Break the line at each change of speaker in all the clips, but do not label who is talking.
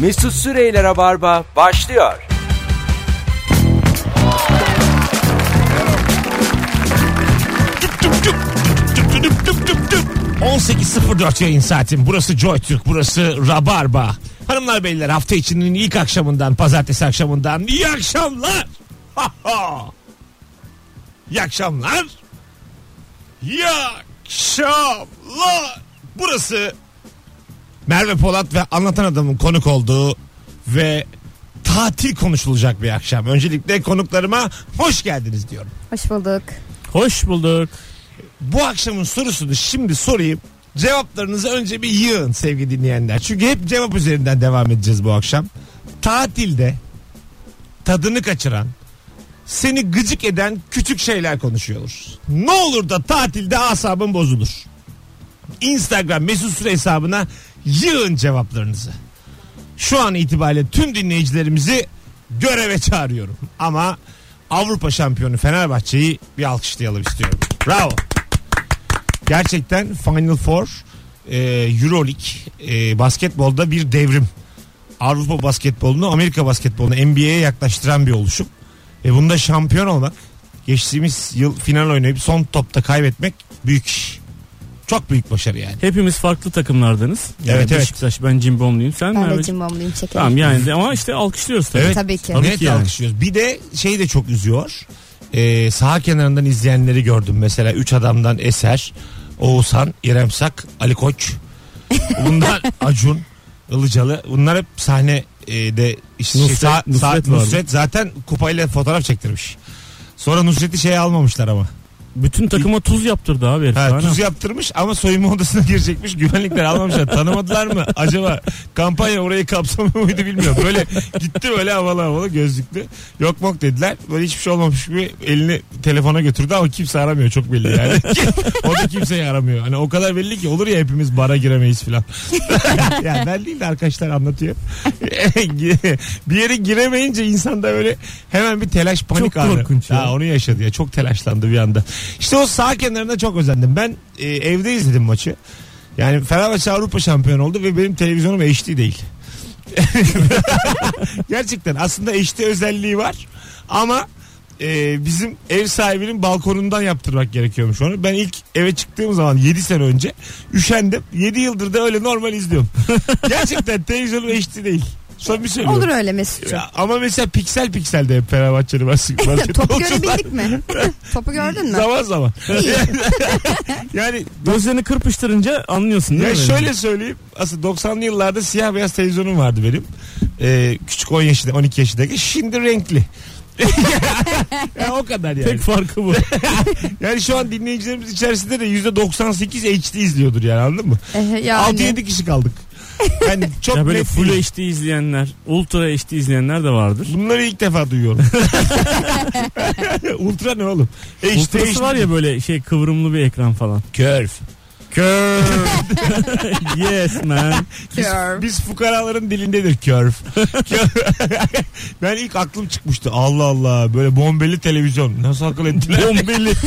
Mesut Süreyler'e barba başlıyor.
Tüp, tüp, tüp, tüp, tüp, tüp, tüp. 18.04 yayın saatim. Burası JoyTürk, burası Rabarba. Hanımlar beyler hafta içinin ilk akşamından, pazartesi akşamından iyi akşamlar. Ha ha. İyi akşamlar. İyi akşamlar. Burası Merve Polat ve Anlatan Adam'ın konuk olduğu ve tatil konuşulacak bir akşam. Öncelikle konuklarıma hoş geldiniz diyorum.
Hoş bulduk.
Hoş bulduk.
bu akşamın sorusunu şimdi sorayım. Cevaplarınızı önce bir yığın sevgili dinleyenler. Çünkü hep cevap üzerinden devam edeceğiz bu akşam. Tatilde tadını kaçıran, seni gıcık eden küçük şeyler konuşuyoruz. Ne olur da tatilde asabın bozulur. Instagram mesut süre hesabına yığın cevaplarınızı. Şu an itibariyle tüm dinleyicilerimizi göreve çağırıyorum. Ama Avrupa şampiyonu Fenerbahçe'yi bir alkışlayalım istiyorum. Bravo. Gerçekten Final Four e, Euroleague e, basketbolda bir devrim. Avrupa basketbolunu Amerika basketbolunu NBA'ye yaklaştıran bir oluşum. E bunda şampiyon olmak geçtiğimiz yıl final oynayıp son topta kaybetmek büyük iş. Çok büyük başarı yani.
Hepimiz farklı takımlardanız.
Evet, evet.
Beşiktaş ben Cimbomluyum. Sen
Ben de
Merve.
cimbomluyum şekerim.
Tamam yani de- ama işte alkışlıyoruz tabii.
Evet.
Tabii ki.
Tabii
Net
ki yani.
alkışlıyoruz. Bir de şey de çok üzüyor. Ee, saha kenarından izleyenleri gördüm. Mesela 3 adamdan Eser, Oğuzhan, İrem Sak, Ali Koç. Bunlar Acun, Ilıcalı. Bunlar hep sahne e, de işte
Nusret- Nusret vardı.
Nusret zaten kupayla fotoğraf çektirmiş. Sonra Nusret'i şey almamışlar ama.
Bütün takıma tuz yaptırdı abi herif.
Ha,
Aynen.
tuz yaptırmış ama soyunma odasına girecekmiş. Güvenlikler almamışlar. Tanımadılar mı? Acaba kampanya orayı kapsamıyor muydu bilmiyorum. Böyle gitti böyle havalı havalı gözlüklü. Yok mok dediler. Böyle hiçbir şey olmamış gibi elini telefona götürdü ama kimse aramıyor. Çok belli yani. o da kimseyi aramıyor. Hani o kadar belli ki olur ya hepimiz bara giremeyiz falan. ya ben değil de arkadaşlar anlatıyor. bir yere giremeyince insanda öyle hemen bir telaş panik
Çok
anı.
korkunç ya.
Ha, onu yaşadı ya. Çok telaşlandı bir anda. İşte o sağ kenarına çok özendim. Ben e, evde izledim maçı. Yani Fenerbahçe Avrupa şampiyonu oldu ve benim televizyonum HD değil. Gerçekten aslında HD özelliği var ama e, bizim ev sahibinin balkonundan yaptırmak gerekiyormuş onu. Ben ilk eve çıktığım zaman 7 sene önce üşendim. 7 yıldır da öyle normal izliyorum. Gerçekten televizyonum HD değil. Son bir söylüyorum.
Olur öyle Mesut'cum.
Ya ama mesela piksel piksel de hep Fenerbahçeli basket-
Topu
basketbolcular.
görebildik mi? Topu gördün mü?
Zaman zaman. yani
Gözlerini kırpıştırınca anlıyorsun değil
ya
mi?
şöyle söyleyeyim. Aslında 90'lı yıllarda siyah beyaz televizyonum vardı benim. Ee, küçük 10 yaşında 12 yaşındaki. Şimdi renkli. ya o kadar yani.
Tek farkı bu.
Yani şu an dinleyicilerimiz içerisinde de %98 HD izliyordur yani anladın mı?
Ee, yani.
6-7 kişi kaldık. Yani çok
ya böyle
net
full
değil.
HD izleyenler, ultra HD izleyenler de vardır.
Bunları ilk defa duyuyorum. Ultra ne oğlum? HD
Ultrası var ya böyle şey kıvrımlı bir ekran falan.
Curve. Curve.
yes man.
Biz,
Curve.
biz fukaraların dilindedir curve. Curve. ben ilk aklım çıkmıştı. Allah Allah böyle bombeli televizyon. Nasıl akıl ettiler?
Bombeli.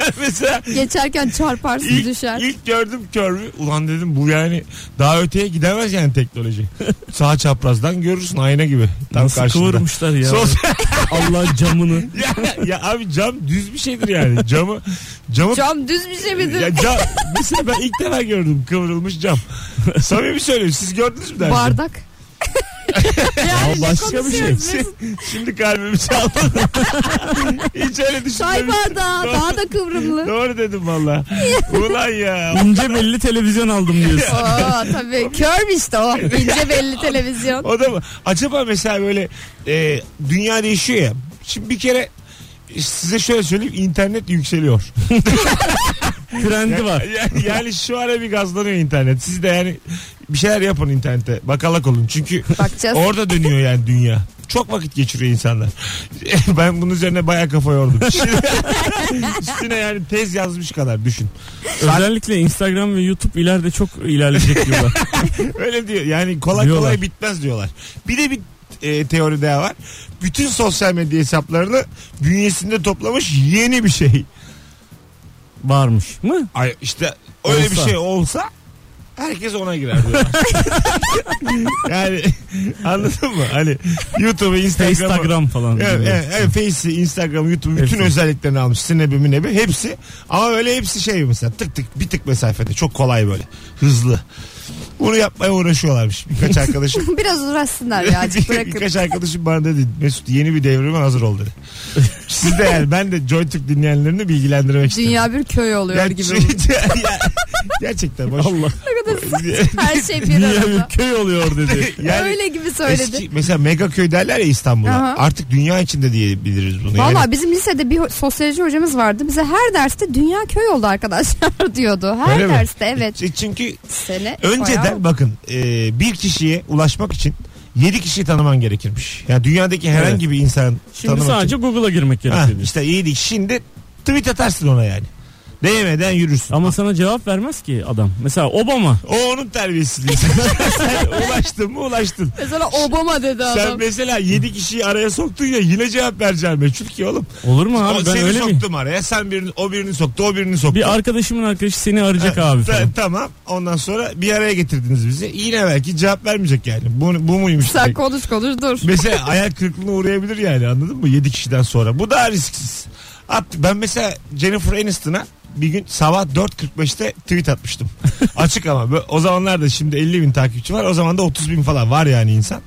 Ben mesela
Geçerken çarparsın
ilk,
düşer.
ilk gördüm curve'ü. Ulan dedim bu yani daha öteye gidemez yani teknoloji. Sağ çaprazdan görürsün ayna gibi. Tam
Nasıl
karşında.
kıvırmışlar ya.
Sol-
Allah camını.
ya, ya abi cam düz bir şeydir yani. Camı camı
Cam düz bir şey midir?
ya cam, mesela ben ilk defa gördüm kıvrılmış cam. Samimi söylüyorum siz gördünüz mü dersin?
Bardak.
Ya başka bir şey.
konuşuyoruz biz?
Şimdi, şimdi kalbimi çalmadı. Hiç öyle
Çay
düşünmemiştim.
bardağı. Daha da kıvrımlı.
Doğru dedim valla. Ulan ya.
İnce belli televizyon aldım diyorsun.
Oo tabii. Kör işte o. İnce belli televizyon.
O da mı? Acaba mesela böyle e, dünya değişiyor ya. Şimdi bir kere e, size şöyle söyleyeyim internet yükseliyor.
Trendi var.
Yani, yani şu ara bir gazlanıyor internet. Siz de yani bir şeyler yapın internete. Bakalak olun. Çünkü
Bakacağız.
Orada dönüyor yani dünya. Çok vakit geçiriyor insanlar. Ben bunun üzerine baya kafa yordum. Üstüne yani tez yazmış kadar düşün.
Özellikle Instagram ve YouTube ileride çok ilerleyecek diyorlar.
Öyle diyor. Yani kolay
Diyorlar.
kolay bitmez diyorlar. Bir de bir e, teori daha var. Bütün sosyal medya hesaplarını bünyesinde toplamış yeni bir şey.
Varmış mı?
Ay işte öyle bir
Olsa.
şey olsa herkes ona girer. diyor. yani anladın mı? Hani YouTube'u, Instagram'ı.
Instagram falan.
Evet, evet, evet, Face'i, Instagram, YouTube bütün
Hepsi.
özelliklerini almış. Sinebi, minebi hepsi. Ama öyle hepsi şey mesela tık tık bir tık mesafede. Çok kolay böyle. Hızlı. Bunu yapmaya uğraşıyorlarmış. Birkaç arkadaşım.
Biraz uğraşsınlar ya azıcık bırakıp.
Birkaç arkadaşım bana dedi Mesut yeni bir devrime hazır ol dedi. Siz de yani ben de JoyTürk dinleyenlerini bilgilendirmek istedim.
Dünya bir köy oluyor
Ya- şey,
gibi. bu.
Ya- gerçekten boş.
Allah.
Ne kadar saçma. Her şey bir
Dünya bir
arada.
köy oluyor dedi.
Yani
Öyle gibi söyledi.
eski, mesela megaköy derler ya İstanbul'a.
Aha.
Artık dünya içinde diyebiliriz bunu. Yani
Valla bizim lisede bir ho- sosyoloji hocamız vardı. Bize her derste dünya köy oldu arkadaşlar diyordu. Her
Öyle mi?
derste evet.
Ç- Çünkü
Sene
önceden
bayağı-
bakın e, bir kişiye ulaşmak için 7 kişiyi tanıman gerekirmiş. Yani dünyadaki herhangi bir insan
Şimdi
tanımak
sadece Google'a girmek
için. Ha,
gerekiyor.
işte iyiydi. Şimdi tweet atarsın ona yani. Değmeden yürürsün.
Ama sana cevap vermez ki adam. Mesela Obama.
O onun terbiyesizliği. Sen ulaştın mı ulaştın.
Mesela Obama dedi
Sen
adam.
mesela 7 kişiyi araya soktun ya yine cevap vereceğim meçhul ki oğlum.
Olur mu
o
abi? Ben
seni
öyle mi?
soktum araya. Sen birini, o birini soktu, o birini soktu.
Bir arkadaşımın arkadaşı seni arayacak
Ha,
abi.
ta-
falan.
tamam. Ondan sonra bir araya getirdiniz bizi. Yine belki cevap vermeyecek yani. Bu, bu muymuş?
Sen
demek?
konuş konuş dur.
Mesela ayak kırıklığına uğrayabilir yani anladın mı? 7 kişiden sonra. Bu daha risksiz. At, ben mesela Jennifer Aniston'a bir gün sabah 4.45'te tweet atmıştım. Açık ama Bö- o zamanlar da şimdi 50 bin takipçi var. O zaman da 30 bin falan var yani insan.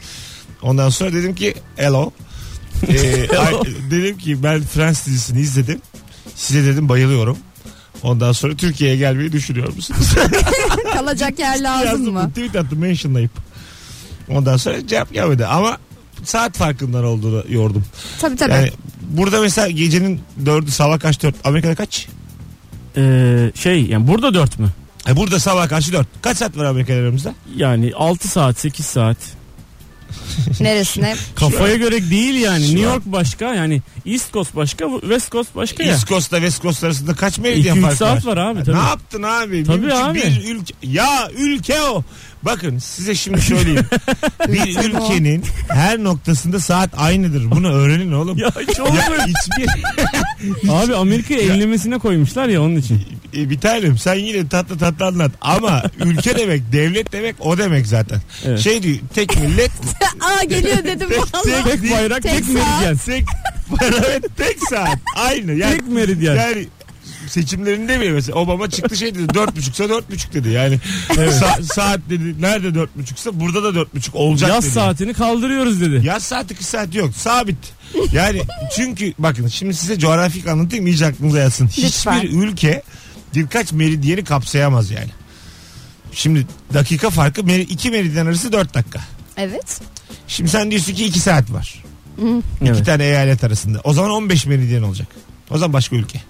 Ondan sonra dedim ki hello. Ee, ay- dedim ki ben Friends dizisini izledim. Size dedim bayılıyorum. Ondan sonra Türkiye'ye gelmeyi düşünüyor musunuz?
Kalacak yer lazım
Yazdım,
mı?
Tweet attım mentionlayıp. Ondan sonra cevap gelmedi ama saat farkından olduğunu yordum.
Tabii tabii.
Yani burada mesela gecenin dördü sabah kaç dört Amerika'da kaç?
Ee, şey yani burada 4 mü?
E burada sabah kaç dört? Kaç saat var Amerika'da aramızda?
Yani 6 saat 8 saat.
Neresine?
Kafaya göre değil yani.
Şu
New
an-
York başka yani East Coast başka West Coast başka ya.
East Coast'la West Coast arasında kaç
İki,
meridyen
üç
farkı
saat var abi,
Ya
tabii.
Ne yaptın abi?
Tabii
Mümkün-
abi.
Bir ülke, ya ülke o. Bakın size şimdi söyleyeyim. bir
Ülke o.
ülkenin her noktasında saat aynıdır. Bunu öğrenin oğlum.
Ya hiç olmuyor.
hiçbir
abi Amerika enlemesine koymuşlar ya onun için.
E, bir tanem sen yine tatlı tatlı anlat ama ülke demek devlet demek o demek zaten.
Evet.
Şey diyor tek millet
Aa geliyor dedim valla.
Tek bayrak tek,
Tek saat.
meridyen.
tek para ve tek saat aynı yani,
Tek meridyen.
yani seçimlerinde bile mesela Obama çıktı şey dedi dört buçuksa dört buçuk dedi yani Sa- saat dedi nerede dört buçuksa burada da dört buçuk olacak
Yaz
dedi.
saatini kaldırıyoruz dedi.
Yaz saati kış saati yok sabit. Yani çünkü bakın şimdi size coğrafik anlatayım iyice aklınıza yatsın.
Lütfen.
Hiçbir ülke birkaç meridyeni kapsayamaz yani. Şimdi dakika farkı meri, iki meridyen arası dört dakika.
Evet.
Şimdi sen diyorsun ki iki saat var. İki
Evet.
tane eyalet arasında. O zaman 15 meridyen olacak. O zaman başka ülke.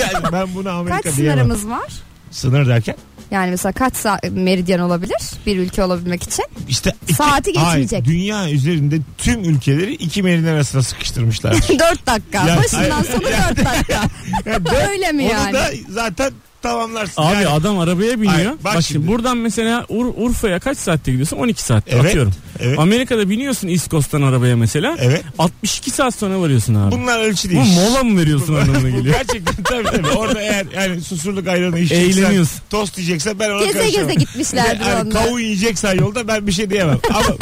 yani ben bunu Amerika
Kaç
diyemem.
sınırımız var?
Sınır derken
Yani mesela kaç sa- meridyen olabilir bir ülke olabilmek için?
işte iki-
Saati geçmeyecek.
Hayır, dünya üzerinde tüm ülkeleri iki meridyen arasına sıkıştırmışlar.
4 dakika.
Ya-
Başından sona 4 dakika. Öyle mi
Onu
yani?
da zaten tamamlarsın.
Abi
Yani-
adam arabaya biniyor.
Hayır, bak
bak, şimdi
şimdi.
buradan mesela Ur- Urfa'ya kaç saatte gidiyorsun? 12 saatte
Evet,
atıyorum.
evet.
Amerika'da biniyorsun East Coast'tan arabaya mesela.
Evet.
62 saat sonra varıyorsun abi.
Bunlar ölçü değil.
Bu mola mı veriyorsun anlamına
Bu
geliyor?
Gerçekten tabii tabii. Orada eğer yani susurluk ayranı içeceksen,
Eğleniyorsun.
tost yiyeceksen ben ona
Geze
karışamam.
geze gitmişlerdir
Yani
onlar.
kavun yiyeceksen yolda ben bir şey diyemem. Ama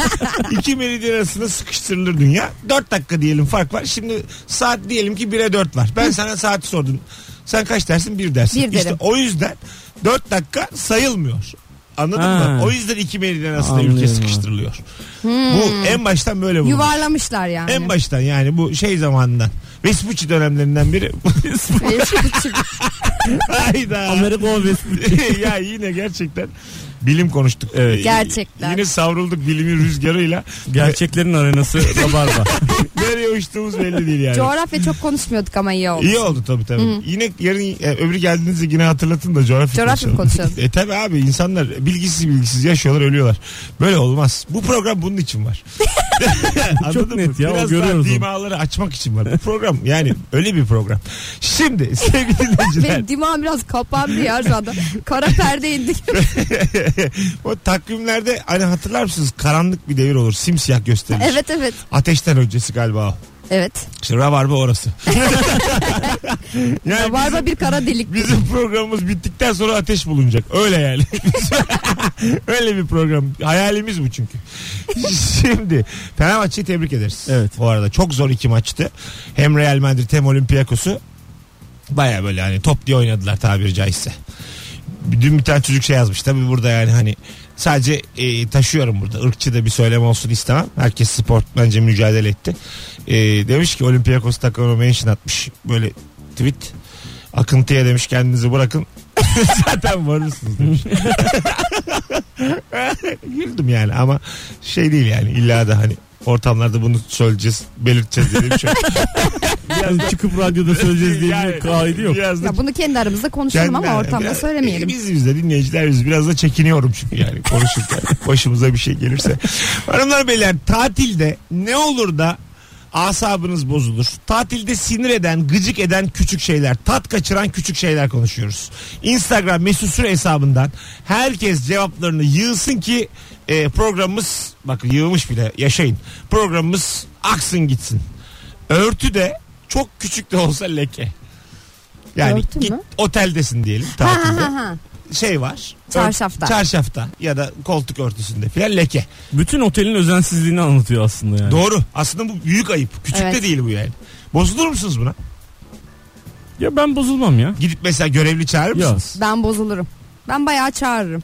iki meridyen arasında sıkıştırılır dünya. Dört dakika diyelim fark var. Şimdi saat diyelim ki bire dört var. Ben sana saati sordum. Sen kaç dersin? Bir dersin.
Bir
işte
derim.
o yüzden dört dakika sayılmıyor. Anladın
Ha.
mı? O yüzden iki meridyen arasında
Anlıyorum
ülke
abi.
sıkıştırılıyor. Bu en baştan böyle bulunmuş.
Yuvarlamışlar Hmm. yani.
En baştan yani bu şey zamanından. Vespucci dönemlerinden biri.
Eski-
Hayda.
Amerika o
ya yine gerçekten bilim konuştuk.
Evet.
Gerçekten.
Yine savrulduk bilimin rüzgarıyla.
Gerçeklerin arenası Rabarba.
Nereye uçtuğumuz belli değil yani.
Coğrafya çok konuşmuyorduk ama iyi oldu.
İyi oldu tabii tabii. Yine yarın e, öbürü geldiğinizde yine hatırlatın da coğrafya,
Coğrafya konuşalım.
e tabii abi insanlar bilgisiz bilgisiz yaşıyorlar ölüyorlar. Böyle olmaz. Bu program bunun için var. Anladın
Çok
mı?
net ya, o
Biraz daha
görüyoruz onu.
dimaları açmak için var. Bu program yani öyle bir program. Şimdi sevgili dinleyiciler.
Benim dimağım biraz kapandı ya şu anda. Kara perde indik.
o takvimlerde hani hatırlar mısınız karanlık bir devir olur simsiyah gösterir.
evet evet.
Ateşten öncesi galiba o.
Evet.
İşte rabarba orası. yani
Var mı bir kara delik?
Bizim programımız bittikten sonra ateş bulunacak. Öyle yani. Öyle bir program. Hayalimiz bu çünkü. Şimdi Fenerbahçe'yi tebrik ederiz.
Evet.
Bu arada çok zor iki maçtı. Hem Real Madrid hem Olympiakos'u baya böyle hani top diye oynadılar tabiri caizse. Dün bir tane çocuk şey yazmış. Tabi burada yani hani sadece e, taşıyorum burada. Irkçı da bir söylem olsun istemem. Herkes spor bence mücadele etti. E, demiş ki Olympiakos takımına mention atmış. Böyle tweet. Akıntıya demiş kendinizi bırakın. Zaten varırsınız demiş. Güldüm yani ama şey değil yani illa da hani ortamlarda bunu söyleyeceğiz, belirteceğiz diye bir şey. yok.
Yani Hani çıkıp radyoda söyleyeceğiz diye
Yani
bir kaide yok.
biraz da
Ya bunu kendi aramızda konuşalım
kendi-
ama ortamda
biraz-
söylemeyelim.
e, Biz biz de dinleyiciler biz biraz da çekiniyorum çünkü yani konuşurken başımıza bir şey gelirse. Hanımlar beyler tatilde ne olur da asabınız bozulur. Tatilde sinir eden, gıcık eden küçük şeyler, tat kaçıran küçük şeyler konuşuyoruz. Instagram mesut süre hesabından herkes cevaplarını yığsın ki e, programımız bak yığmış bile yaşayın. Programımız aksın gitsin. Örtü de çok küçük de olsa leke. Yani
Örtü
git,
mü?
oteldesin diyelim
Ha
tatilde.
ha ha.
Şey var.
Çarşafta.
Ört- çarşafta ya da koltuk örtüsünde filan leke.
Bütün otelin özensizliğini anlatıyor aslında yani.
Doğru. Aslında bu büyük ayıp. Küçük de
Evet.
değil bu yani. Bozulur musunuz buna?
Ya ben bozulmam ya.
Gidip mesela görevli çağırır
Ya.
mısınız?
Ben bozulurum. Ben bayağı çağırırım.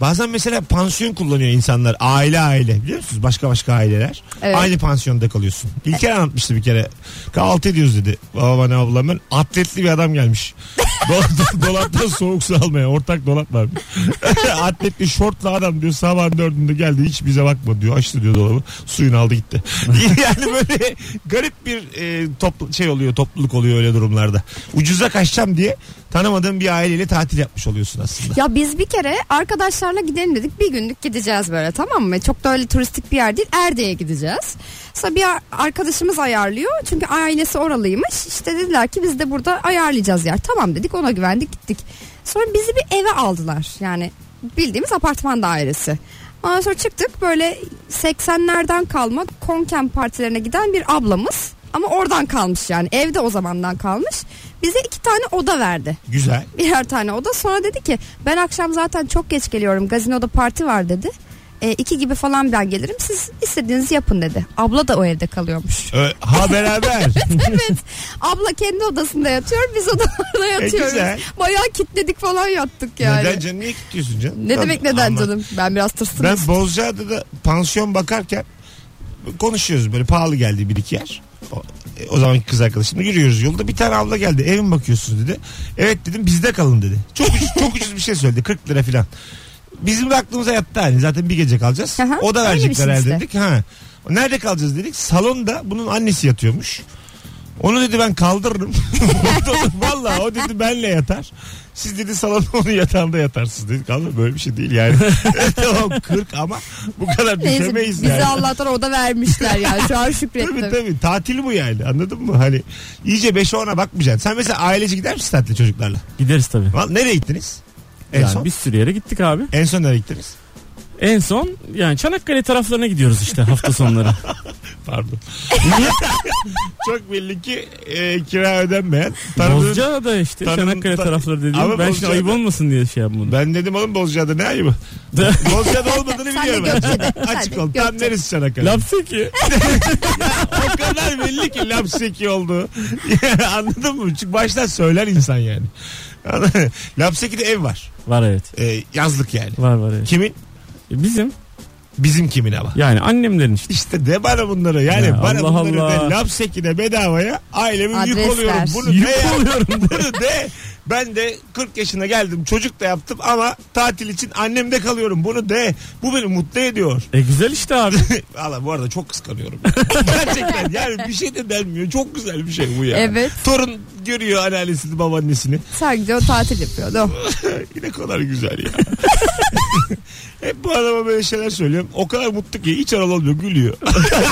Bazen mesela pansiyon kullanıyor insanlar. Aile aile. Biliyor musunuz? Başka başka aileler.
Evet.
Aynı pansiyonda kalıyorsun. İlker anlatmıştı bir kere. Kahvaltı ediyoruz dedi. Baba bana ablam ben. Atletli bir adam gelmiş. Do- do- dolaptan soğuk su almaya. Ortak dolap var. Atletli şortlu adam diyor. Sabahın dördünde geldi. Hiç bize bakma diyor. Açtı diyor dolabı. Suyunu aldı gitti. yani böyle garip bir e, toplu- şey oluyor. Topluluk oluyor öyle durumlarda. Ucuza kaçacağım diye tanımadığın bir aileyle tatil yapmış oluyorsun aslında.
Ya biz bir kere arkadaşlarla gidelim dedik. Bir günlük gideceğiz böyle tamam mı? Çok da öyle turistik bir yer değil. Erde'ye gideceğiz. Sonra bir ar- arkadaşımız ayarlıyor. Çünkü ailesi oralıymış. İşte dediler ki biz de burada ayarlayacağız yer. Tamam dedik ona güvendik gittik. Sonra bizi bir eve aldılar. Yani bildiğimiz apartman dairesi. Ondan sonra çıktık böyle 80'lerden kalma konken partilerine giden bir ablamız. Ama oradan kalmış yani evde o zamandan kalmış. Bize iki tane oda verdi
Güzel.
birer tane oda. Sonra dedi ki ben akşam zaten çok geç geliyorum. Gazinoda parti var dedi. E, iki gibi falan ben gelirim. Siz istediğinizi yapın dedi. Abla da o evde kalıyormuş.
Ö- ha beraber.
evet. Abla kendi odasında yatıyor. Biz odalarda yatıyoruz.
E, güzel.
Bayağı kitledik falan yattık yani.
Neden canım? Niye gidiyorsun canım?
Ne demek neden
Ama
canım? Ben biraz tırsınım.
Ben Bozcaada'da pansiyon bakarken konuşuyoruz böyle pahalı geldi bir iki yer. O, e, o zamanki kız arkadaşımla yürüyoruz yolda bir tane abla geldi evin bakıyorsunuz dedi. Evet dedim bizde kalın dedi. Çok ucuz, çok ucuz bir şey söyledi 40 lira filan. Bizim de aklımıza yattı hani zaten bir gece kalacağız.
Aha,
o da
öyle bir
verecekler
şey
herhalde
işte.
dedik. Ha. Nerede kalacağız dedik. Salonda bunun annesi yatıyormuş. Onu dedi ben kaldırırım. Valla o dedi benle yatar. Siz dedi salonda onun yatağında yatarsınız dedi. Kaldır böyle bir şey değil yani. tamam 40 ama bu kadar
Neyse
düşemeyiz
bize
yani.
Allah'tan oda vermişler yani. Şu an şükrettim.
Tabii tabii tatil bu yani anladın mı? Hani iyice 5'e 10'a bakmayacaksın. Sen mesela ailece gider misin tatile çocuklarla?
Gideriz tabii.
Val- Nereye gittiniz? En
Yani
son?
bir sürü yere gittik abi.
En son nereye gittiniz?
En son yani Çanakkale taraflarına gidiyoruz işte hafta sonları.
Pardon. Çok belli ki e, kira ödenmeyen. tanıdığın-
Bozcaada da işte
tanıdığın-
Çanakkale
tan-
tarafları dediğim.
Ama
ben şimdi
Bozcaada-
ayıp olmasın diye şey yapmadım.
Ben dedim oğlum Bozcaada ne ayıbı? Bozcaada olmadığını
Sen de
biliyorum.
Gökçe'de.
ben.
Sen
Açık
de
ol. Tam
Gökçe'de.
neresi Çanakkale?
Lapseki.
o kadar belli ki Lapseki oldu. Anladın mı? Çünkü baştan söyler insan yani. Lapseki'de ev var.
Var evet.
Ee, yazlık yani.
Var var evet.
Kimin?
E, Bizim
Bizim kimin ama.
yani annemlerin işte.
İşte de bana bunları yani
Ya
bana
Allah
bunları
Allah.
de Lapseki'de bedavaya aileme yük
Adres
oluyorum.
ver.
Bunu
Yük
de ya.
oluyorum da.
Bunu de ben de 40 yaşına geldim çocuk da yaptım ama tatil için annemde kalıyorum bunu de bu beni mutlu ediyor.
E güzel işte abi.
Valla bu arada çok kıskanıyorum. Gerçekten yani bir şey de denmiyor. Çok güzel bir şey bu ya.
Evet.
Torun görüyor anneannesini babaannesini.
Sadece o tatil yapıyordu.
ne kadar güzel ya. Hep bu adama böyle şeyler söylüyorum. O kadar mutlu ki hiç aral olmuyor gülüyor.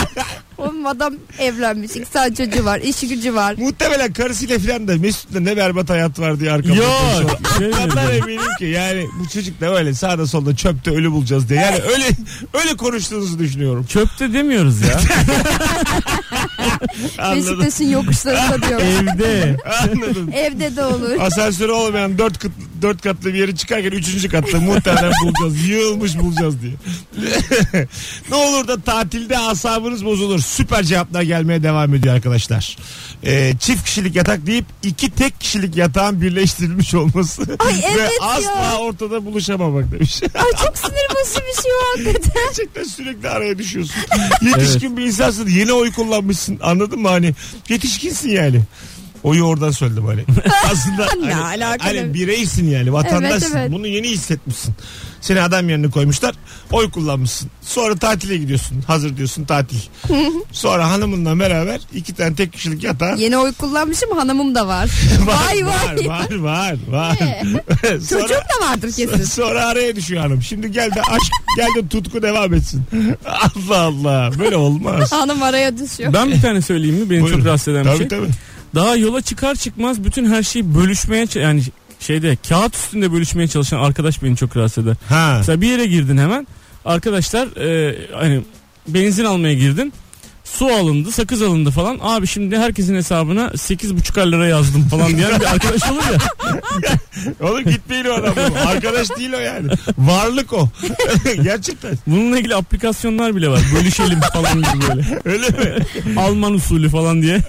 Oğlum adam evlenmiş. İki tane çocuğu var. işi gücü var.
Muhtemelen karısıyla filan da Mesut'la ne berbat hayat var diye arkamda konuşuyor.
Yok. Şey mi
Kadar
dedi?
eminim ki yani bu çocuk da öyle sağda solda çöpte ölü bulacağız diye. Yani öyle öyle konuştuğunuzu düşünüyorum.
Çöpte demiyoruz ya.
Anladım.
Beşiktaş'ın yokuşlarında diyorum.
Evde.
Anladım.
Evde de olur.
Asansörü olmayan dört, kat, dört katlı bir yere çıkarken üçüncü katta muhtemelen bulacağız. Yığılmış bulacağız diye. ne olur da tatilde asabınız bozulur. Süper cevaplar gelmeye devam ediyor arkadaşlar. Ee, çift kişilik yatak deyip iki tek kişilik yatağın birleştirilmiş olması.
Ay
Ve
evet ya.
asla ortada buluşamamak demiş.
Ay çok sinir bozucu bir şey o hakikaten.
Gerçekten sürekli araya düşüyorsun. Yetişkin bir insansın. Yeni oy kullanmışsın. Anladın mı hani? Yetişkinsin yani. Oyu oradan söyledim hani. Aslında
Ne
hani,
alakalı?
hani bireysin yani vatandaşsın.
Evet, evet.
Bunu yeni hissetmişsin. Seni adam yerine koymuşlar. Oy kullanmışsın. Sonra tatile gidiyorsun. Hazır diyorsun tatil. Sonra hanımınla beraber iki tane tek kişilik yatağa.
Yeni oy kullanmışım hanımım da var. vay vay.
Var var var. var. Sonra-
Çocuğum da vardır kesin.
Sonra araya düşüyor hanım. Şimdi gel de aşk gel de tutku devam etsin. Allah Allah böyle olmaz.
Hanım araya düşüyor.
Ben bir tane söyleyeyim mi? Beni
Buyurun.
çok rahatsız eden bir
tabii
şey.
tabii.
Daha yola çıkar çıkmaz bütün her şeyi bölüşmeye ç- yani şeyde kağıt üstünde bölüşmeye çalışan arkadaş beni çok rahatsız eder.
Ha.
Mesela bir yere girdin hemen. Arkadaşlar e, hani benzin almaya girdin. Su alındı, sakız alındı falan. Abi şimdi herkesin hesabına 8,5 lira yazdım falan diyen bir arkadaş olur ya.
Oğlum gitmeyin o adam. bu. Arkadaş değil o yani. Varlık o. Gerçekten.
Bununla ilgili aplikasyonlar bile var. Bölüşelim falan gibi böyle.
Öyle mi?
Alman usulü falan diye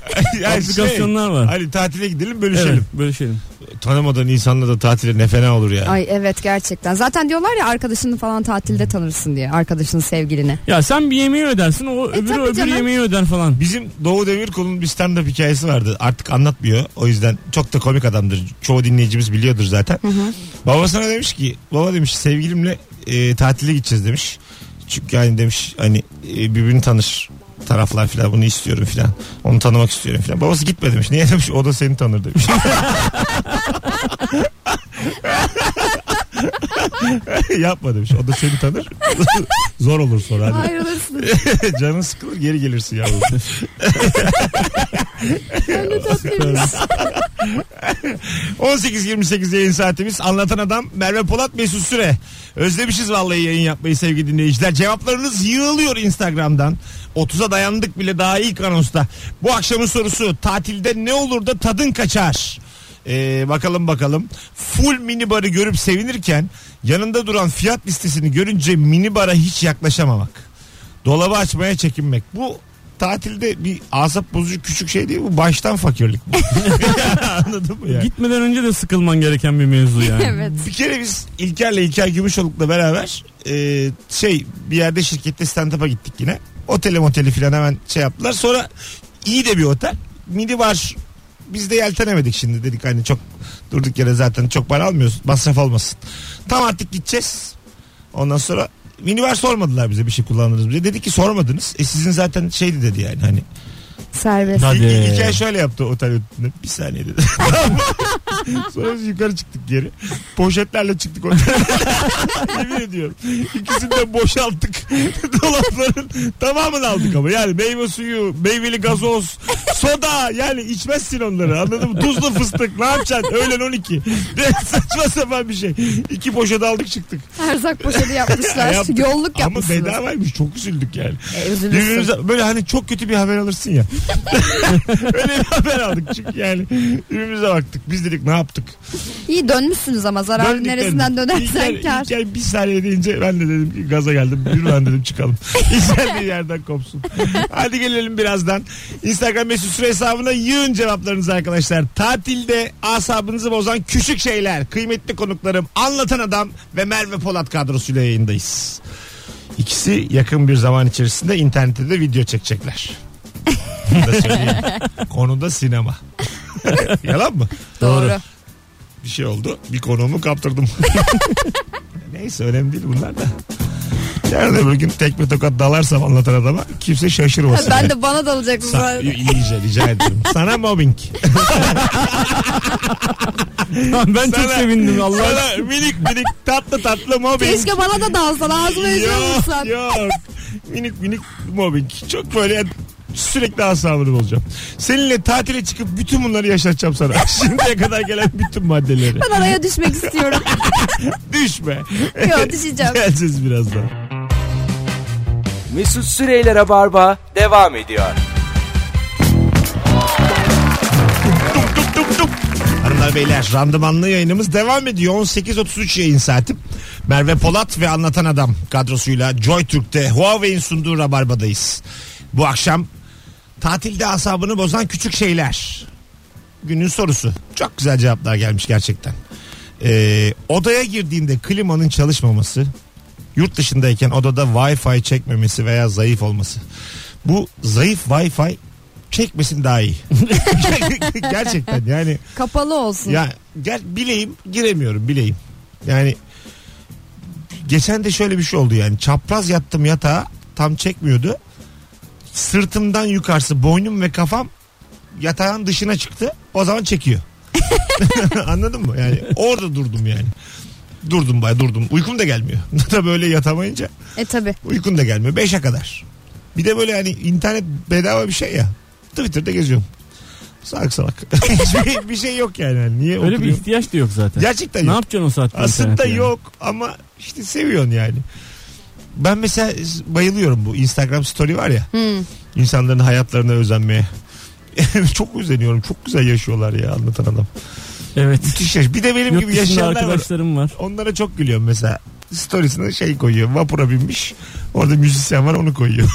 Yani şey,
aplikasyonlar var.
hani tatile gidelim
Evet,
bölüşelim.
bölüşelim.
Tanımadığın insanla da tatile ne fena olur ya.
Ay evet gerçekten. Zaten diyorlar ya arkadaşını falan
Hmm.
tatilde tanırsın diye. Arkadaşının sevgilini.
Ya sen bir yemeği ödersin o öbürü
E, tabii
öbür
canım.
yemeği öder falan.
Bizim Doğu Demirkol'un bir stand-up hikayesi vardı. Artık anlatmıyor. O yüzden çok da komik adamdır. Çoğu dinleyicimiz biliyordur zaten. Babasına demiş ki baba demiş sevgilimle e, tatile gideceğiz demiş. Çünkü hani demiş hani e, birbirini tanır taraflar filan bunu istiyorum filan. Onu tanımak istiyorum filan. Babası gitme demiş. Niye demiş o da seni tanır demiş. Yapma demiş. O da seni tanır. Zor olur sonra. Hadi.
Ayrılırsın.
Canın sıkılır geri gelirsin yavrum.
Öyle tatlıymış.
18.28 yayın saatimiz. Anlatan adam Merve Polat Mesut Süre. Özlemişiz vallahi yayın yapmayı sevgili dinleyiciler. Cevaplarınız yığılıyor Instagram'dan. 30'a dayandık bile daha ilk anonsta. Bu akşamın sorusu tatilde ne olur da tadın kaçar? Ee, bakalım bakalım. Full minibarı görüp sevinirken yanında duran fiyat listesini görünce minibara hiç yaklaşamamak. Dolabı açmaya çekinmek. Bu tatilde bir asap bozucu küçük şey değil bu. Baştan fakirlik bu. Anladın mı yani?
Gitmeden önce de sıkılman gereken bir mevzu yani.
evet.
Bir kere biz İlker'le İlker Gümüşoluk'la beraber e, şey bir yerde şirkette stand-up'a gittik yine. Otele moteli filan hemen şey yaptılar. Sonra iyi de bir otel. Mini var. Biz de yeltenemedik şimdi dedik hani çok durduk yere zaten çok para almıyoruz. Masraf olmasın. Tam artık gideceğiz. Ondan sonra mini var sormadılar bize bir şey kullandınız mı diye. Dedi ki sormadınız. E sizin zaten şeydi dedi yani hani
Serbest.
Hadi.
İlk- İlker şöyle yaptı otel ötüne. Bir saniye dedi. Sonra biz yukarı çıktık geri. Poşetlerle çıktık otelden. Yemin ediyorum. İkisini de boşalttık. Dolapların tamamını aldık ama. Yani meyve suyu, meyveli gazoz, soda. Yani içmezsin onları anladın mı? Tuzlu fıstık ne yapacaksın? Öğlen 12. Ne saçma sapan bir şey. İki poşet aldık çıktık.
Erzak poşeti yapmışlar.
Yaptık.
Yolluk
Ama
yapmışsınız.
bedavaymış çok üzüldük yani.
E, üzülürsün.
Birbirimize böyle hani çok kötü bir haber alırsın ya. Öyle bir haber aldık çünkü yani birbirimize baktık. Biz dedik ne yaptık?
İyi dönmüşsünüz ama zararın
Döndük
neresinden
döndük.
dönersen
İlker-
kar.
İlker bir saniye deyince ben de dedim ki gaza geldim. Yürü lan dedim çıkalım. İsterdiği yerden kopsun. Hadi gelelim birazdan. Instagram mesut süre hesabına yığın cevaplarınızı arkadaşlar. Tatilde asabınızı bozan küçük şeyler. Kıymetli konuklarım anlatan adam ve Merve Polat kadrosuyla yayındayız. İkisi yakın bir zaman içerisinde internette de video çekecekler. Bunu da söyleyeyim. Konuda sinema. Yalan mı?
Doğru.
bir şey oldu. Bir konuğumu kaptırdım. Neyse önemli değil bunlar da. Yarın öbür gün tekme tokat dalarsam anlatan adama kimse şaşırmasın.
Ben de bana dalacak
Sa-
zaten.
iyice rica ediyorum. Sana mobbing.
ben çok
Sana-
sevindim Allah.
Sana minik minik tatlı tatlı mobbing.
Keşke bana da dalsan ağzıma
Yok
yüzüyorsan.
yok. Minik minik mobbing. Çok böyle sürekli asabını olacağım. Seninle tatile çıkıp bütün bunları yaşatacağım sana. Şimdiye kadar gelen bütün maddeleri.
Ben araya düşmek istiyorum.
Düşme.
Yok düşeceğim.
Geleceğiz birazdan.
Mesut Süreyler'e barba devam ediyor.
Dup dup. Hanımlar beyler randımanlı yayınımız devam ediyor. 18.33 yayın saatim. Merve Polat ve Anlatan Adam kadrosuyla Joy Türk'te Huawei'in sunduğu Rabarba'dayız. Bu akşam tatilde asabını bozan küçük şeyler. Günün sorusu. Çok güzel cevaplar gelmiş gerçekten. Ee, odaya girdiğinde klimanın çalışmaması, yurt dışındayken odada Wi-Fi çekmemesi veya zayıf olması. Bu zayıf Wi-Fi çekmesin daha iyi. Gerçekten yani
Kapalı olsun.
ya gel bileyim giremiyorum bileyim. Yani geçen de şöyle bir şey oldu yani çapraz yattım yatağa tam çekmiyordu. Sırtımdan yukarısı boynum ve kafam yatağın dışına çıktı. O zaman çekiyor. Anladın mı? Yani orada durdum yani. Durdum baya durdum. Uykum da gelmiyor. da böyle yatamayınca
E tabi.
uykun da gelmiyor. Beşe kadar. Bir de böyle hani internet bedava bir şey ya. Twitter'da geziyorum. Salak salak. Hiçbir bir şey yok yani. Hani Niye
Öyle bir
oturuyorum?
ihtiyaç da yok zaten.
Gerçekten
ne
yok.
yapacaksın o saatte?
Aslında
internette yani?
yok ama işte seviyorsun yani. Ben mesela bayılıyorum bu Instagram story var ya.
Hmm.
insanların hayatlarına özenmeye. çok özeniyorum. Çok güzel yaşıyorlar ya anlatan adam.
Evet.
Müthiş yaş. Bir de benim
Yurt
gibi
dışında
yaşayanlar var.
arkadaşlarım var.
Onlara çok gülüyorum mesela. Storiesine şey koyuyor. Vapura binmiş. Orada müzisyen var onu koyuyor.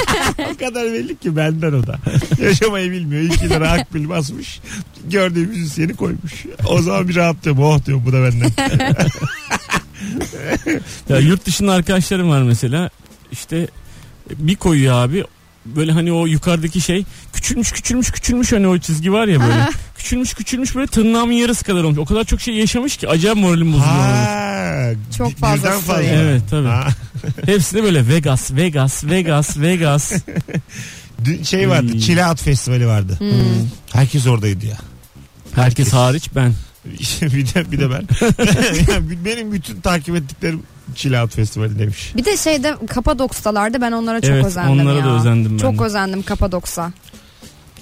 o kadar belli ki benden o da. Yaşamayı bilmiyor. İki lira akbil basmış. Gördüğü müzisyeni koymuş. O zaman bir rahatlıyorum. Oh diyorum bu da benden.
Ya yurt dışında arkadaşlarım var mesela. İşte bir koyuyor abi. Böyle hani o yukarıdaki şey küçülmüş küçülmüş küçülmüş hani o çizgi var ya böyle. küçülmüş küçülmüş böyle tırnağımın yarısı kadar olmuş. O kadar çok şey yaşamış ki acayip moralim bozuluyor. benim.
Ha,
Çok
bir-
fazla
birden
story.
Evet tabii.
Ha,
Hepsi de böyle Vegas, Vegas, Vegas, Vegas.
dün şey vardı.
Hmm.
Çileat Festivali vardı.
Hmm.
Herkes oradaydı ya.
Herkes hariç ben.
bir de bir de ben. Yani benim bütün takip ettiklerim Çileat Festivali demiş.
Bir de şeyde Kapadoks'talardı ben onlara çok
evet
özendim
onlara
ya.
da özendim ben.
Çok
de.
özendim Kapadoks'a.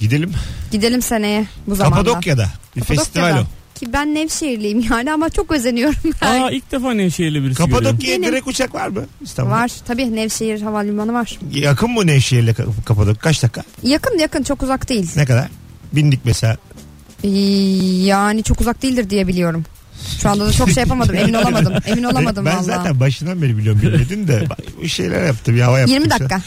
Gidelim.
Gidelim seneye bu zamanda.
Kapadokya'da. Bir festival o.
Kapadokya'da. Ki ben Nevşehirliyim yani ama çok özeniyorum ben.
Aa ilk defa Nevşehir'li birisi görüyorum.
Kapadokya'ya
Benim-
direkt uçak var mı? İstanbul'da.
Var tabii Nevşehir Havalimanı var.
Yakın mı Nevşehir'le Kap- Kapadokya? Kaç dakika?
Yakın yakın çok uzak değil.
Ne kadar? Bindik mesela.
Ee, Yani çok uzak değildir diye biliyorum. Şu anda da çok şey yapamadım emin olamadım. Emin olamadım
ben
vallahi.
zaten başından beri biliyorum bilmedin de bu şeyler yaptım ya hava yaptım.
20
şu an.
dakika.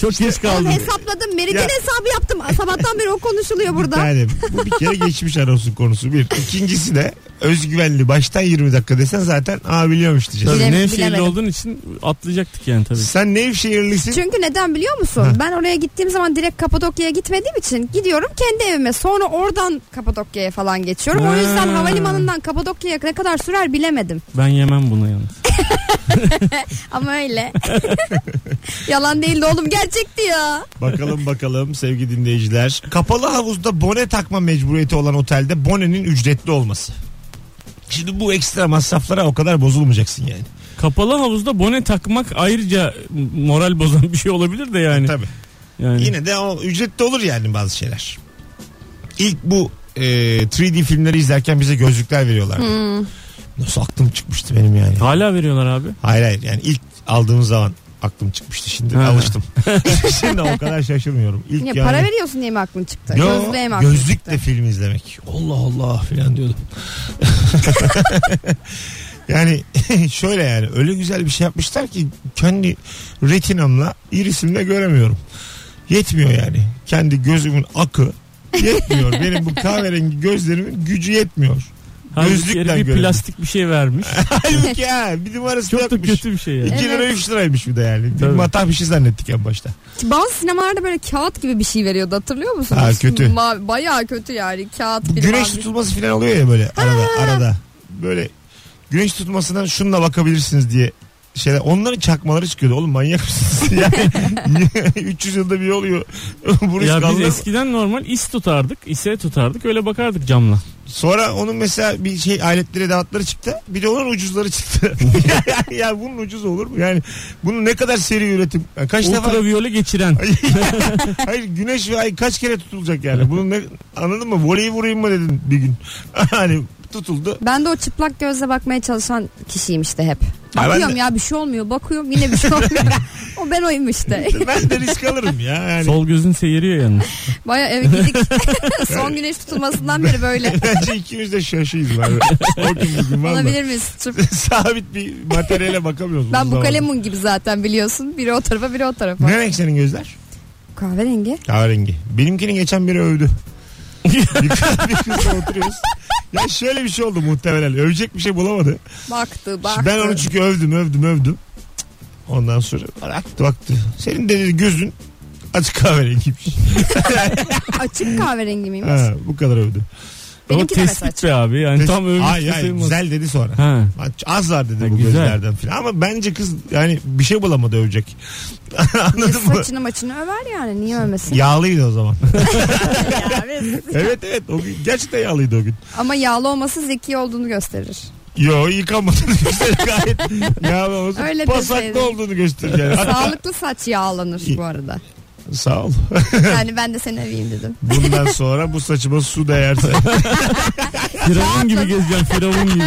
Çok geç
Oğlum
kaldım.
hesapladım. Meridyen
Ya.
hesabı yaptım. Sabahtan beri o konuşuluyor
Bir
burada.
tanem. bu bir kere geçmiş anonsun konusu bir. İkincisi de özgüvenli baştan 20 dakika desen zaten aa biliyormuş diyeceğiz.
Tabii,
Bile-
Nevşehirli
bilemedim.
olduğun için atlayacaktık yani tabii.
Sen Nevşehirlisin.
Çünkü neden biliyor musun?
Ha.
Ben oraya gittiğim zaman direkt Kapadokya'ya gitmediğim için gidiyorum kendi evime. Sonra oradan Kapadokya'ya falan geçiyorum. O
Ha.
yüzden havalimanından Kapadokya'ya ne kadar sürer bilemedim.
Ben yemem bunu yalnız.
Ama öyle. Yalan değildi oğlum gerçekti ya.
Bakalım bakalım sevgili dinleyiciler. Kapalı havuzda bone takma mecburiyeti olan otelde bonenin ücretli olması. Şimdi bu ekstra masraflara o kadar bozulmayacaksın yani.
Kapalı havuzda bone takmak ayrıca moral bozan bir şey olabilir de yani.
Tabii.
yani.
Yine de o ücretli olur yani bazı şeyler. İlk bu e, 3D filmleri izlerken bize gözlükler veriyorlar. Nasıl aklım çıkmıştı benim yani.
Hala veriyorlar abi.
Hayır hayır yani ilk aldığım zaman aklım çıkmıştı şimdi
Ha.
alıştım. şimdi o kadar şaşırmıyorum. İlk
Niye,
yani...
Para veriyorsun diye mi aklın çıktı?
Yo,
Gözlüğe mi aklın
gözlükle
çıktı?
film izlemek. Allah Allah filan diyordum. yani şöyle yani öyle güzel bir şey yapmışlar ki kendi retinamla irisimle göremiyorum. Yetmiyor yani. Kendi gözümün akı yetmiyor. Benim bu kahverengi gözlerimin gücü yetmiyor.
Halbuki
Gözlükle
herif bir
görelim.
plastik bir şey vermiş.
Halbuki ha bir numarası
Çok da
yokmuş.
kötü bir şey yani.
2 lira
Evet.
3 liraymış bir de yani.
Tabii.
Matah bir şey zannettik en başta.
Bazı sinemalarda böyle kağıt gibi bir şey veriyordu hatırlıyor musunuz?
Ha, kötü.
Ma- bayağı kötü yani kağıt
Bu
bir
güneş
mavi.
tutulması falan oluyor ya böyle arada arada. Böyle güneş tutulmasından şununla bakabilirsiniz diye şeyler. Onların çakmaları çıkıyordu. Oğlum manyak mısınız? Yani 300 yılda bir oluyor. Bunu
ya biz
kaldı.
eskiden normal is tutardık, ise tutardık öyle bakardık camla.
Sonra onun mesela bir şey aletleri edevatları çıktı. Bir de onun ucuzları çıktı. ya bunun ucuz olur mu? Yani bunun ne kadar seri üretim? Yani kaç defa
Ultraviyole geçiren.
Hayır güneş ve ay kaç kere tutulacak yani? Bunu ne anladın mı? Voleyi vurayım mı dedin bir gün. hani tutuldu.
Ben de o çıplak gözle bakmaya çalışan kişiyim işte hep.
ben
Bakıyorum
de-
ya bir şey olmuyor. Bakıyorum yine bir şey olmuyor. o ben oyum işte.
ben de risk alırım ya. Yani.
Sol gözün seyiriyor yalnız.
Baya eve gidik. Son güneş tutulmasından beri böyle.
Bence ikimiz de şaşıyız var. O gün bugün valla.
Olabilir miyiz? Sırf
Sabit bir materyale bakamıyoruz.
Ben bu
zamanda.
kalemun gibi zaten biliyorsun. Biri o tarafa biri o tarafa.
Ne renk senin gözler?
Kahverengi.
Kahverengi. Benimkini geçen biri övdü. bir kız, bir kızla oturuyoruz. Ya şöyle bir şey oldu muhtemelen. Övecek bir şey bulamadı.
Baktı baktı.
Şimdi ben onu çünkü övdüm övdüm övdüm. Cık. Ondan sonra baktı baktı. Senin dedi gözün açık kahverengiymiş.
Açık kahverengi miymiş?
Ha, bu kadar övdü.
O
Benimki de mesela
tespit be abi. Yani tam övmüş
Hayır
de
hayır
sayılmaz.
güzel dedi sonra.
Ha.
Az var dedi
Ha,
bu
güzel.
gözlerden filan. Ama bence kız yani bir şey bulamadı övecek.
Bir
Anladın mı?
Saçını maçını över yani. Niye övmesin?
Yağlıydı o zaman.
Ya, biz-
evet evet o gün gerçekten yağlıydı o gün.
Ama yağlı olması zeki olduğunu gösterir.
Yo yıkamadığını gösterir gayet. Yağlı olsun.
Öyle deseydin.
Pasaklı olduğunu gösterir yani.
Sağlıklı saç yağlanır bu arada.
Sağ ol.
Yani ben de seni öveyim dedim.
Bundan sonra bu saçıma su değerse.
Firavun gibi gezeceksin firavun gibi.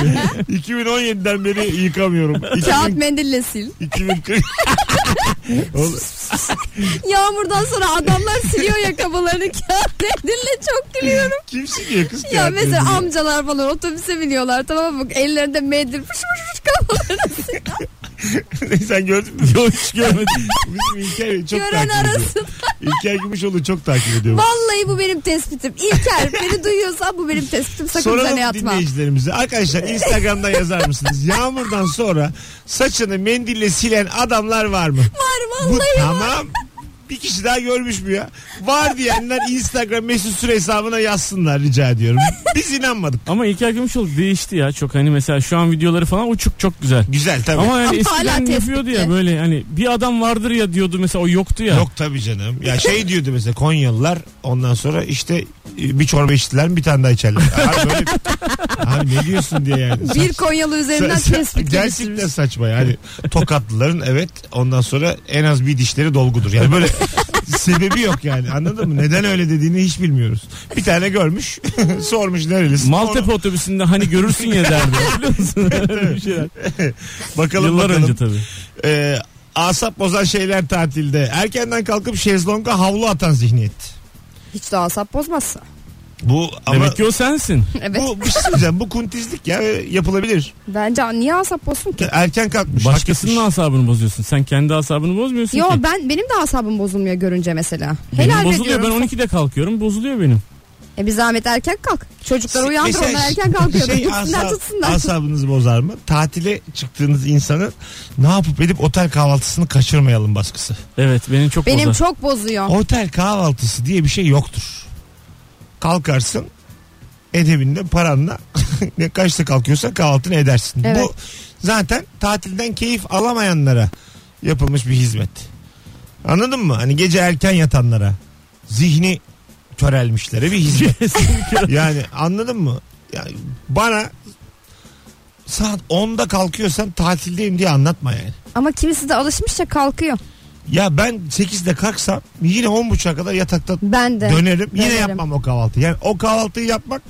2017'den beri yıkamıyorum.
Kağıt
2000,
mendille sil.
2040. Oğlum,
Yağmurdan sonra adamlar siliyor yakabalarını kağıt mendille çok gülüyorum.
kim siliyor kız
Ya
kağıt
mesela
mendili?
amcalar falan otobüse biniyorlar tamam mı? Ellerinde mendil fış fış fış kafalarını
Sen gördün mü?
Yok hiç görmedim.
Bizim İlker çok
gören
takip ediyor.
arasın.
İlker Gümüşoğlu çok takip ediyor.
Vallahi bu benim tespitim. İlker beni duyuyorsan bu benim tespitim. Sakın
Soralım
üzerine atma.
dinleyicilerimize. Arkadaşlar Instagram'dan yazar mısınız? Yağmurdan sonra saçını mendille silen adamlar var mı?
Var
Bu
vallahi var.
tamam. Bir kişi daha görmüş mü ya? Var diyenler Instagram mesut süre hesabına yazsınlar rica ediyorum. Biz inanmadık.
Ama İlker Gümüşoğlu değişti ya çok hani mesela şu an videoları falan uçuk çok güzel.
Güzel tabii.
Ama yani
Ama hala
eskiden
tespitli.
yapıyordu ya böyle hani bir adam vardır ya diyordu mesela o yoktu ya.
Yok tabii canım. Ya şey diyordu mesela Konyalılar ondan sonra işte e, bir çorba içtiler mi bir tane daha içerler. Abi, böyle, abi ne diyorsun diye yani.
Bir Konyalı üzerinden
Sa- sa-
tespit
Gerçekten
geliştirmiş.
saçma yani. Tokatlıların evet ondan sonra en az bir dişleri dolgudur. Yani böyle sebebi yok yani anladın mı? Neden öyle dediğini hiç bilmiyoruz. Bir tane görmüş sormuş nerelisin.
Maltepe otobüsünde hani görürsün ya derdi. Biliyor musun? Öyle bir şeyler.
Onu- bakalım
Yıllar
bakalım.
önce tabii.
Ee, asap bozan şeyler tatilde. Erkenden kalkıp şezlonga havlu atan zihniyet.
Hiç daha asap bozmazsa.
Bu ama
Demek ki o sensin.
Evet.
bu bir şey söyleyeceğim. Bu kuntizlik ya yapılabilir.
Bence niye asap bozsun ki?
Erken kalkmış.
Başkasının
hak etmiş.
asabını bozuyorsun. Sen kendi asabını bozmuyorsun
Yo
ki.
ben benim de asabım bozulmuyor görünce mesela.
Benim
Helal
bozuluyor. Ben
ediyorum.
12'de kalkıyorum. Bozuluyor benim.
E bir zahmet erken kalk. Çocukları uyandır
Mesela
onlar erken kalkıyor.
şey,
Gitsinler
asab-
tutsunlar.
Asabınızı bozar mı? Tatile çıktığınız insanın ne yapıp edip otel kahvaltısını kaçırmayalım baskısı.
Evet benim çok
Benim
bozar.
çok bozuyor.
Otel kahvaltısı diye bir şey yoktur. Kalkarsın edebinde paranla ne kaçta kalkıyorsa kahvaltını edersin.
Evet.
Bu zaten tatilden keyif alamayanlara yapılmış bir hizmet. Anladın mı? Hani gece erken yatanlara zihni körelmişlere bir hizmet. Yani anladın mı? Yani bana saat 10'da kalkıyorsan tatildeyim diye anlatma yani.
Ama kimisi de alışmışça kalkıyor.
Ya ben 8'de kalksam yine 10.30'a kadar yatakta
Ben de.
dönerim. Yine
Dönerim.
yapmam o kahvaltıyı. Yani o kahvaltıyı yapmak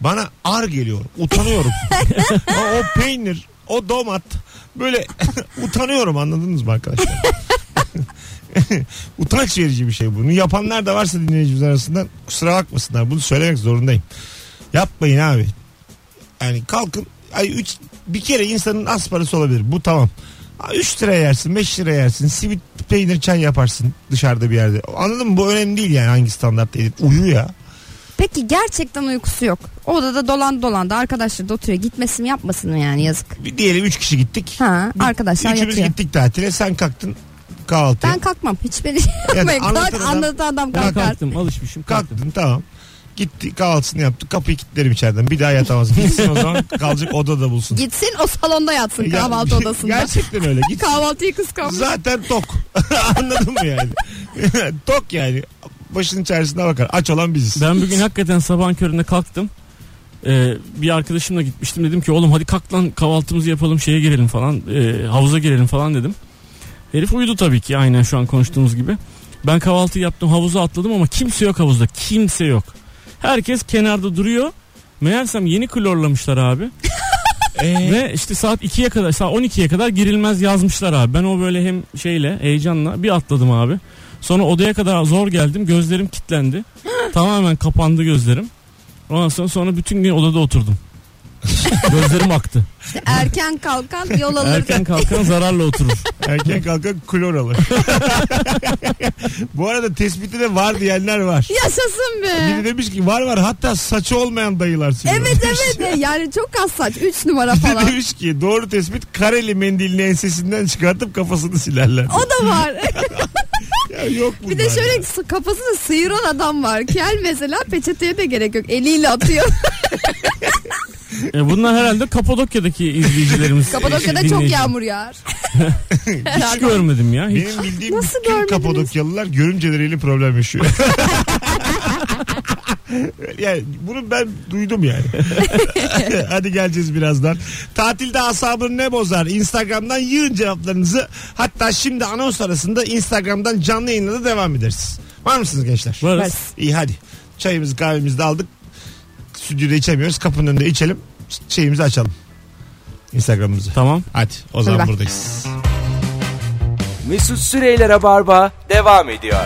bana ar geliyor. Utanıyorum. o, o peynir, o domat böyle utanıyorum anladınız mı arkadaşlar? Utanç verici bir şey bunu. Yapanlar da varsa dinleyicimiz arasından kusura bakmasınlar. Bunu söylemek zorundayım. Yapmayın abi. Yani kalkın. Ay üç, bir kere insanın az parası olabilir. Bu tamam. 3 lira yersin 5 lira yersin simit peynir çay yaparsın dışarıda bir yerde anladın mı bu önemli değil yani hangi standartta edip uyu ya
Peki gerçekten uykusu yok. Odada dolan dolan da arkadaşları da oturuyor. Gitmesin yapmasın yani yazık.
bir diyelim 3 kişi gittik
Ha
Bir-
arkadaşlar
üçümüz
yatıyor.
gittik tatile sen kalktın kahvaltıya
Ben kalkmam. Hiç beni
Yani
yapmayın.
anlatan
Kalk
adam-
anlatan adam
Ben
kalkar.
kalktım alışmışım kalktım.
kalktın tamam gitti kahvaltısını yaptı kapıyı kilitlerim içeriden bir daha yatamaz gitsin o zaman kalacak odada bulsun
Gitsin o salonda yatsın
Ya-
kahvaltı odasında.
gerçekten öyle gitsin
Kahvaltıyı kıskanmış.
zaten tok anladın mı yani tok yani başının içerisine bakar aç olan biziz
Ben bugün hakikaten sabahın köründe kalktım. Ee, bir arkadaşımla gitmiştim dedim ki oğlum hadi kalk lan kahvaltımızı yapalım şeye girelim falan e, havuza girelim falan dedim. Herif uyudu tabii ki aynen şu an konuştuğumuz gibi. Ben kahvaltı yaptım havuza atladım ama kimse yok havuzda kimse yok. Herkes kenarda duruyor. Meğersem yeni klorlamışlar abi.
Ee,
Ve işte saat 2'ye kadar saat 12'ye kadar girilmez yazmışlar abi. Ben o böyle hem şeyle heyecanla bir atladım abi. Sonra odaya kadar zor geldim. Gözlerim kilitlendi. Tamamen kapandı gözlerim. Ondan sonra, sonra bütün gün odada oturdum. gözlerim aktı.
Erken kalkan yol alır.
Erken kalkan zararla oturur.
erken kalkan klor alır. Bu arada tespiti de var diyenler var.
Yaşasın
Biri
be.
demiş ki var var hatta saçı olmayan dayılar sürüyor.
Evet evet yani çok az saç 3 numara
Bir de
falan.
demiş ki doğru tespit kareli mendilini ensesinden çıkartıp kafasını silerler.
O da var.
Ya yok bunlar.
Bir de
ya.
şöyle sı- kafasını sıyıran adam var. Kel mesela peçeteye de gerek yok. Eliyle atıyor.
E bunlar herhalde Kapadokya'daki izleyicilerimiz.
Kapadokya'da
e,
çok
dinleyici.
yağmur yağar.
Hiç görmedim ya. Hiç.
Benim bildiğim
Nasıl
bütün
görmediniz?
Kapadokyalılar görümceleriyle problem yaşıyor. yani bunu ben duydum yani. Hadi geleceğiz birazdan. Tatilde asabını ne bozar? Instagram'dan yığın cevaplarınızı. Hatta şimdi anons arasında Instagram'dan canlı yayınla da devam ederiz. Var mısınız gençler?
Varız.
İyi hadi. Çayımızı kahvemizi de aldık. Stüdyoda içemiyoruz. Kapının önünde içelim. Şeyimizi açalım. Instagram'ımızı.
Tamam.
Hadi o zaman
Hadi bak.
buradayız.
Mesut Süreyler'e barba devam ediyor.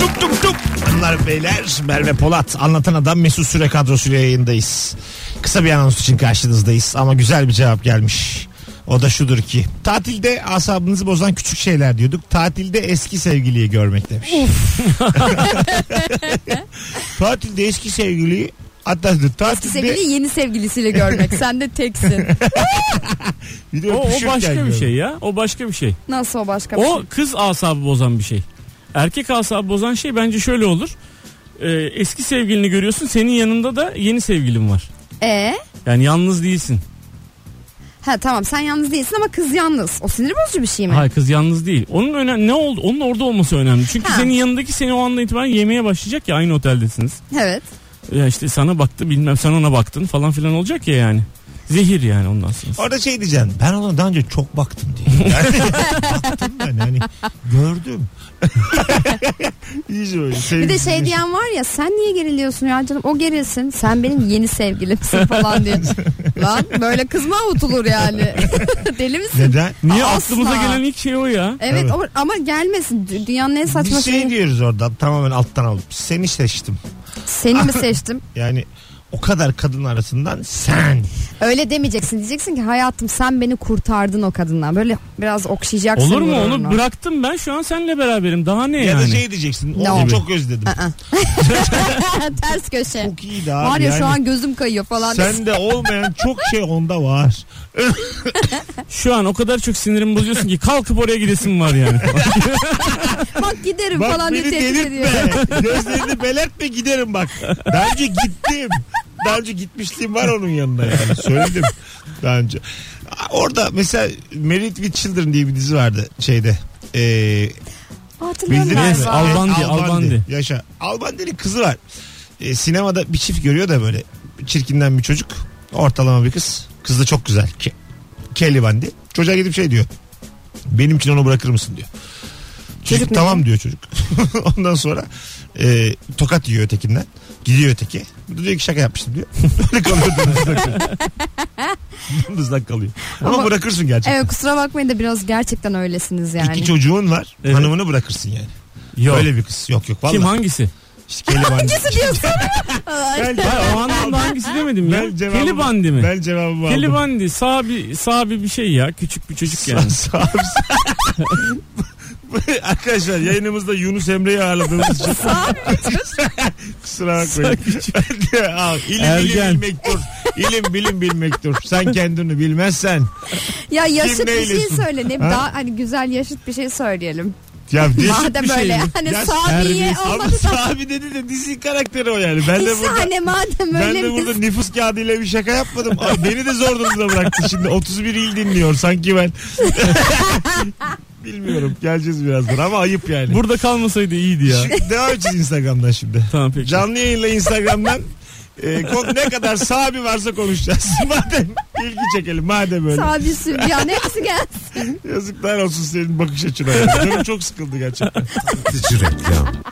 Tuk tuk tuk. Hanımlar beyler Merve Polat anlatan adam Mesut Süre kadrosuyla yayındayız. Kısa bir anons için karşınızdayız ama güzel bir cevap gelmiş. O da şudur ki tatilde asabınızı bozan küçük şeyler diyorduk. Tatilde eski sevgiliyi görmek demiş. tatilde eski sevgiliyi hatta
Eski
tatilde
sevgili yeni sevgilisiyle görmek. Sen de teksin.
bir de
O, o
öpüşürken
başka bir
görmek.
şey ya. O başka bir şey.
Nasıl o başka bir şey?
O kız asabı bozan bir şey. Erkek asabı bozan şey bence şöyle olur. Ee, eski sevgilini görüyorsun senin yanında da yeni sevgilin var.
Ee?
Yani yalnız değilsin.
Ha tamam sen yalnız değilsin ama kız yalnız. O sinir bozucu bir şey mi?
Hayır kız yalnız değil. Onun önemli ne oldu? Onun orada olması önemli. Çünkü
Ha.
senin yanındaki seni o andan itibaren yemeye başlayacak ya aynı oteldesiniz.
Evet.
Ya işte sana baktı bilmem sen ona baktın falan filan olacak ya yani. Zehir yani ondan sonra.
Orada şey diyeceksin ben ona daha önce çok baktım diye. Yani, baktım ben hani gördüm. İyice böyle.
Bir de
sevgilisi
şey diyen var ya sen niye geriliyorsun ya canım o gerilsin. Sen benim yeni sevgilimsin falan diye. Lan böyle kızma avutulur yani. Deli misin?
Neden?
Niye
Asla.
aklımıza gelen ilk şey o ya?
Evet,
Evet.
o- ama gelmesin. Dü- Dünyanın en saçma
Biz şey
şeyi.
diyoruz orada tamamen alttan alıp seni seçtim.
Seni mi seçtim?
Yani o kadar kadın arasından sen.
Öyle demeyeceksin. Diyeceksin ki hayatım sen beni kurtardın o kadından. Böyle biraz okşayacaksın.
Olur mu?
gururunu.
Onu bıraktım ben şu an seninle beraberim. Daha ne
Ya da
yani?
şey diyeceksin. Onu
No.
çok özledim.
Aa. Ters köşe.
Çok iyiydi abi.
Var ya
yani.
şu an gözüm kayıyor falan.
Sende olmayan çok şey onda var.
Şu an o kadar çok sinirimi bozuyorsun ki kalkıp oraya gidesim var yani.
Bak giderim
Bak
falan diye
beni
tehdit ediyor.
delirtme. Gözlerini belertme giderim bak. Daha önce gittim. Daha önce gitmişliğim var onun yanına yani. Söyledim daha önce. Orada mesela Married with Children diye bir dizi vardı şeyde. Ee,
Hatırlıyorum
Bildiniz mi?
galiba.
Al- Albandi, Albandi.
Yaşa. Albandi'nin kızı var. E, sinemada bir çift görüyor da böyle çirkinden bir çocuk. Ortalama bir kız. Kız da çok güzel. Ke Kelly Bandi. Çocuğa gidip şey diyor. Benim için onu bırakır mısın diyor. Çocuk,
Çocuk ne
tamam diyor çocuk. Ondan sonra e, tokat yiyor ötekinden. Gidiyor öteki. Bu da diyor ki şaka yapmıştım diyor. Böyle kalıyor dımdızlak. dımdızlak kalıyor. Ama,
Ama-
bırakırsın gerçekten.
Evet kusura bakmayın da biraz gerçekten öylesiniz yani.
İki çocuğun var.
Evet.
Hanımını bırakırsın yani.
Yok.
Öyle bir kız. Yok yok. Vallahi.
Kim hangisi?
İşte Kelly Bandi.
Ay,
Ben,
Hayır, o anlamda hangisi demedim ya.
Ben cevabımı-
Kelibandi mi?
ben cevabımı aldım.
Kelibandi sahibi sahibi bir şey ya küçük bir çocuk yani.
Sa- sağ- Arkadaşlar yayınımızda Yunus Emre'yi ağırladığımız için kusura bakmayın. Al, ilim
Ergen.
bilim bilmektur. İlim bilim bilmektur. Sen kendini bilmeysen.
ya yaşıt bir şey
neylesin?
söyle. Ne,
Ha?
daha hani güzel yaşıt bir şey söyleyelim.
Ya dizi-
Madem
bir şey
öyle
mi?
Ya
hani sabiye
serbest.
Ama
olmadı da.
sahibi dedi de dizi karakteri o yani. Ben de
İşte
burada
hani madem
ben
öyle
de
biz-
burada nüfus kağıdıyla bir şaka yapmadım. Ay, beni de zor durumda bıraktı şimdi. 31 il dinliyor sanki ben. Bilmiyorum. Geleceğiz birazdan ama ayıp yani.
Burada kalmasaydı iyiydi ya.
Şu- devam edeceğiz Instagram'dan şimdi.
tamam peki.
Canlı yayınla Instagram'dan e, ko- ne kadar sabi varsa konuşacağız. madem ilgi çekelim madem öyle.
Sabi Sübyan hepsi gel.
Yazıklar olsun senin bakış açına. Yani. Canım çok sıkıldı gerçekten.
Korkutucu reklam.